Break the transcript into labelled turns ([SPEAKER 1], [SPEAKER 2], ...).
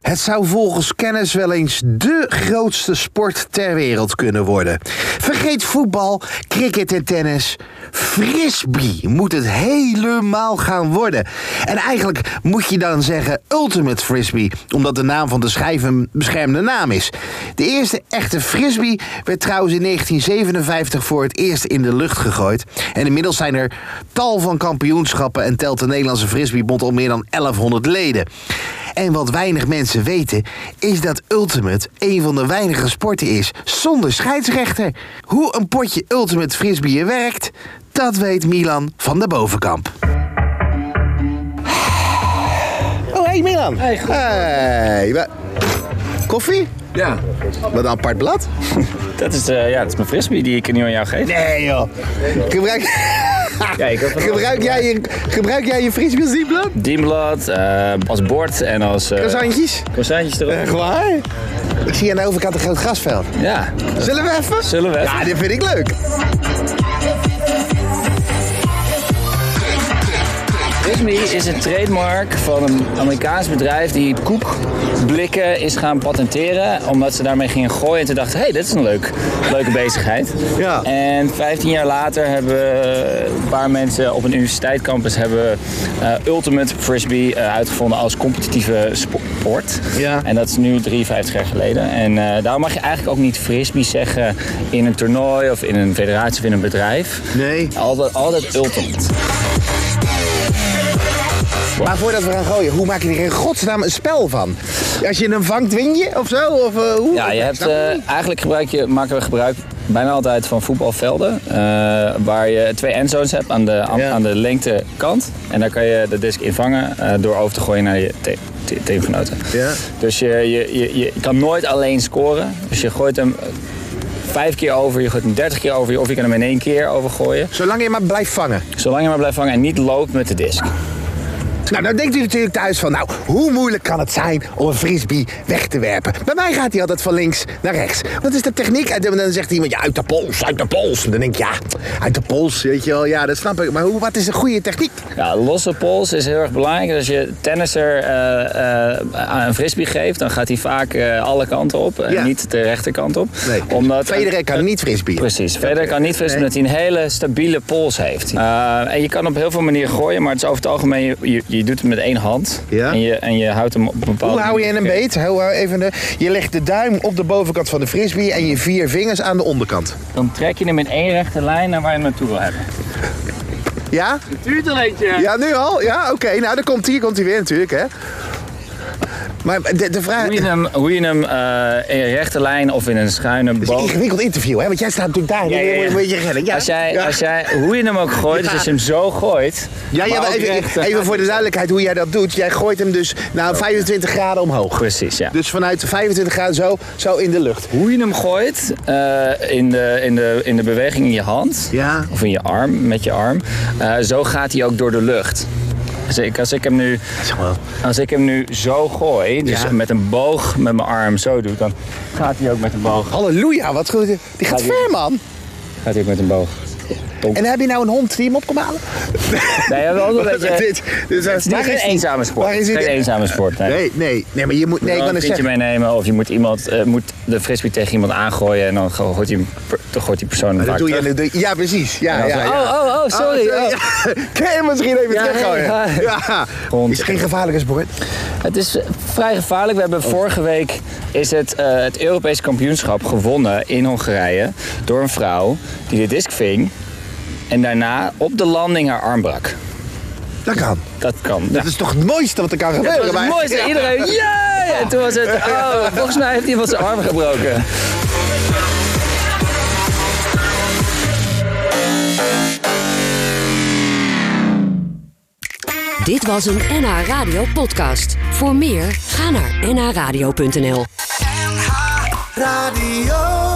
[SPEAKER 1] Het zou volgens kennis wel eens de grootste sport ter wereld kunnen worden. Vergeet voetbal, cricket en tennis. Frisbee moet het helemaal gaan worden. En eigenlijk moet je dan zeggen Ultimate Frisbee, omdat de naam van de schijf een beschermde naam is. De eerste echte frisbee werd trouwens in 1957 voor het eerst in de lucht gegooid. En inmiddels zijn er tal van kampioenschappen en telt de Nederlandse Frisbeebond al meer dan 1100 leden. En wat weinig mensen weten, is dat Ultimate een van de weinige sporten is zonder scheidsrechter. Hoe een potje Ultimate Frisbee werkt, dat weet Milan van de Bovenkamp. Oh, hey Milan. Hey, wa- Koffie?
[SPEAKER 2] Ja,
[SPEAKER 1] Wat een apart blad.
[SPEAKER 2] dat is, eh, ja, dat is mijn frisbee die ik nu aan jou geef.
[SPEAKER 1] Nee joh. Gebruik,
[SPEAKER 2] Ja, ik heb
[SPEAKER 1] gebruik, jij, je, gebruik jij je frisbee als diepblad?
[SPEAKER 2] dienblad eh, als bord en als... eh,
[SPEAKER 1] Croissantjes?
[SPEAKER 2] croissantjes erop.
[SPEAKER 1] Echt waar? Ik zie aan de overkant een groot grasveld.
[SPEAKER 2] Ja,
[SPEAKER 1] Zullen we even?
[SPEAKER 2] Zullen we even?
[SPEAKER 1] Ja, dit vind ik leuk.
[SPEAKER 2] frisbee is een trademark van een Amerikaans bedrijf die koekblikken is gaan patenteren. Omdat ze daarmee gingen gooien en toen dachten, hé, hey, dit is een leuk, leuke bezigheid.
[SPEAKER 1] Ja.
[SPEAKER 2] En 15 jaar later hebben eh, een paar mensen op een universiteitscampus hebben eh, Ultimate Frisbee eh, uitgevonden als competitieve sport.
[SPEAKER 1] Ja.
[SPEAKER 2] En dat is nu 53 jaar geleden. En eh, daarom mag je eigenlijk ook niet frisbee zeggen in een toernooi of in een federatie of in een bedrijf.
[SPEAKER 1] Nee.
[SPEAKER 2] Altijd, altijd ultimate.
[SPEAKER 1] Maar voordat we gaan gooien, hoe maak je er in godsnaam een spel van? Als je hem vangt, win je of zo? Of, eh, hoe?
[SPEAKER 2] Ja, je
[SPEAKER 1] Ik
[SPEAKER 2] hebt,
[SPEAKER 1] snap het
[SPEAKER 2] eh,
[SPEAKER 1] niet.
[SPEAKER 2] eigenlijk gebruik je, maken we gebruik bijna altijd van voetbalvelden. eh, waar je twee endzones hebt aan de, aan,
[SPEAKER 1] Ja.
[SPEAKER 2] aan de lengtekant. En daar kan je de disc invangen eh, door over te gooien naar je te- te- teamgenoten.
[SPEAKER 1] Ja.
[SPEAKER 2] Dus je, je, je, je kan nooit alleen scoren. Dus je gooit hem eh, vijf keer over, je gooit hem dertig keer over. Of je kan hem in één keer overgooien.
[SPEAKER 1] Zolang je maar blijft vangen.
[SPEAKER 2] Zolang je maar blijft vangen en niet loopt met de disc.
[SPEAKER 1] Nou, dan denkt u natuurlijk thuis van, nou, hoe moeilijk kan het zijn om een frisbee weg te werpen? Bij mij gaat hij altijd van links naar rechts. Dat is de techniek. En dan zegt iemand, ja, uit de pols, uit de pols. En dan denk ik, ja, uit de pols, weet je wel. Ja, dat snap ik. Maar hoe, wat is een goede techniek?
[SPEAKER 2] Ja, losse pols is heel erg belangrijk. Dus Als je tennisser eh, eh, aan een frisbee geeft, dan gaat hij vaak eh, alle kanten op en
[SPEAKER 1] Ja.
[SPEAKER 2] niet de rechterkant op. Omdat,
[SPEAKER 1] Federer kan niet frisbee.
[SPEAKER 2] Precies. Verder kan niet frisbee
[SPEAKER 1] Nee.
[SPEAKER 2] omdat hij een hele stabiele pols heeft. Eh, en je kan op heel veel manieren gooien, maar het is over het algemeen, je, je, je doet het met één hand.
[SPEAKER 1] Ja.
[SPEAKER 2] En, je, en je houdt hem op een bepaalde
[SPEAKER 1] Hoe hou je
[SPEAKER 2] manier.
[SPEAKER 1] hem beet? Heel eh, even de, je legt de duim op de bovenkant van de frisbee en je vier vingers aan de onderkant.
[SPEAKER 2] Dan trek je hem in één rechte lijn naar waar je hem naartoe wil hebben.
[SPEAKER 1] Ja?
[SPEAKER 2] Duurt een beetje.
[SPEAKER 1] Ja, nu al? Ja, oké. Nou, dan komt hier komt hij weer natuurlijk, hè. Maar de, de vraag...
[SPEAKER 2] Hoe je hem, hoe je hem eh, in een rechte lijn of in een schuine
[SPEAKER 1] Het is een
[SPEAKER 2] boog
[SPEAKER 1] ingewikkeld interview, hè? Want jij staat natuurlijk daar.
[SPEAKER 2] Ja, ja, ja.
[SPEAKER 1] Een beetje redding. Ja.
[SPEAKER 2] Als jij,
[SPEAKER 1] Ja.
[SPEAKER 2] als jij, hoe je hem ook gooit, dus als je hem zo gooit.
[SPEAKER 1] Ja, ja,
[SPEAKER 2] maar
[SPEAKER 1] maar
[SPEAKER 2] ook recht,
[SPEAKER 1] even,
[SPEAKER 2] dan
[SPEAKER 1] even
[SPEAKER 2] gaat
[SPEAKER 1] voor de
[SPEAKER 2] hij-
[SPEAKER 1] duidelijkheid hoe jij dat doet. Jij gooit hem dus naar 25 graden omhoog.
[SPEAKER 2] Precies, ja.
[SPEAKER 1] Dus vanuit 25 graden zo, zo in de lucht.
[SPEAKER 2] Hoe je hem gooit eh, in, de, in, de, in de beweging in je hand,
[SPEAKER 1] Ja.
[SPEAKER 2] of in je arm, met je arm, eh, zo gaat hij ook door de lucht. Dus ik, als, ik hem nu, als ik hem nu zo gooi, dus
[SPEAKER 1] Ja.
[SPEAKER 2] met een boog met mijn arm zo doe, dan gaat hij ook met een boog.
[SPEAKER 1] Halleluja, wat goed. Die gaat
[SPEAKER 2] Ja, die-
[SPEAKER 1] ver, man.
[SPEAKER 2] Gaat hij ook met een boog.
[SPEAKER 1] En heb je nou een hond die hem op kan halen?
[SPEAKER 2] Nee, ja, wel een beetje,
[SPEAKER 1] Dit- dit
[SPEAKER 2] het is niet
[SPEAKER 1] waar
[SPEAKER 2] geen
[SPEAKER 1] is die?
[SPEAKER 2] eenzame sport.
[SPEAKER 1] Waar is die?
[SPEAKER 2] geen eenzame sport, nee.
[SPEAKER 1] Nee, nee, nee, maar je moet... Nee, ik
[SPEAKER 2] je
[SPEAKER 1] wou
[SPEAKER 2] moet
[SPEAKER 1] net
[SPEAKER 2] een kindje
[SPEAKER 1] zeggen...
[SPEAKER 2] meenemen of je moet, iemand, eh, moet de frisbee tegen iemand aangooien en dan gooit die, dan gooit die persoon hem
[SPEAKER 1] Dat
[SPEAKER 2] vaak
[SPEAKER 1] doe je,
[SPEAKER 2] terug.
[SPEAKER 1] dat doe je- ja, precies. Ja,
[SPEAKER 2] Ja,
[SPEAKER 1] ja,
[SPEAKER 2] zo-
[SPEAKER 1] ja.
[SPEAKER 2] Oh, oh, oh, sorry. Oh.
[SPEAKER 1] Kan je misschien even
[SPEAKER 2] Ja,
[SPEAKER 1] teruggooien?
[SPEAKER 2] ja, ja.
[SPEAKER 1] Ja.
[SPEAKER 2] Grond.
[SPEAKER 1] Is geen gevaarlijke sport.
[SPEAKER 2] Het is eh, vrij gevaarlijk. We hebben vorige week is het, eh, het Europees kampioenschap gewonnen in Hongarije door een vrouw die de disc ving en daarna op de landing haar arm brak.
[SPEAKER 1] Dat kan.
[SPEAKER 2] Dat kan. Nou,
[SPEAKER 1] Dat is toch het mooiste wat er kan gebeuren?
[SPEAKER 2] Dat was het
[SPEAKER 1] bij-
[SPEAKER 2] mooiste.
[SPEAKER 1] Ja.
[SPEAKER 2] Iedereen, ja! En toen was het, oh, volgens mij heeft iemand zijn arm gebroken.
[SPEAKER 3] Dit was een NH Radio podcast. Voor meer, ga naar nhradio.nl.
[SPEAKER 4] Radio.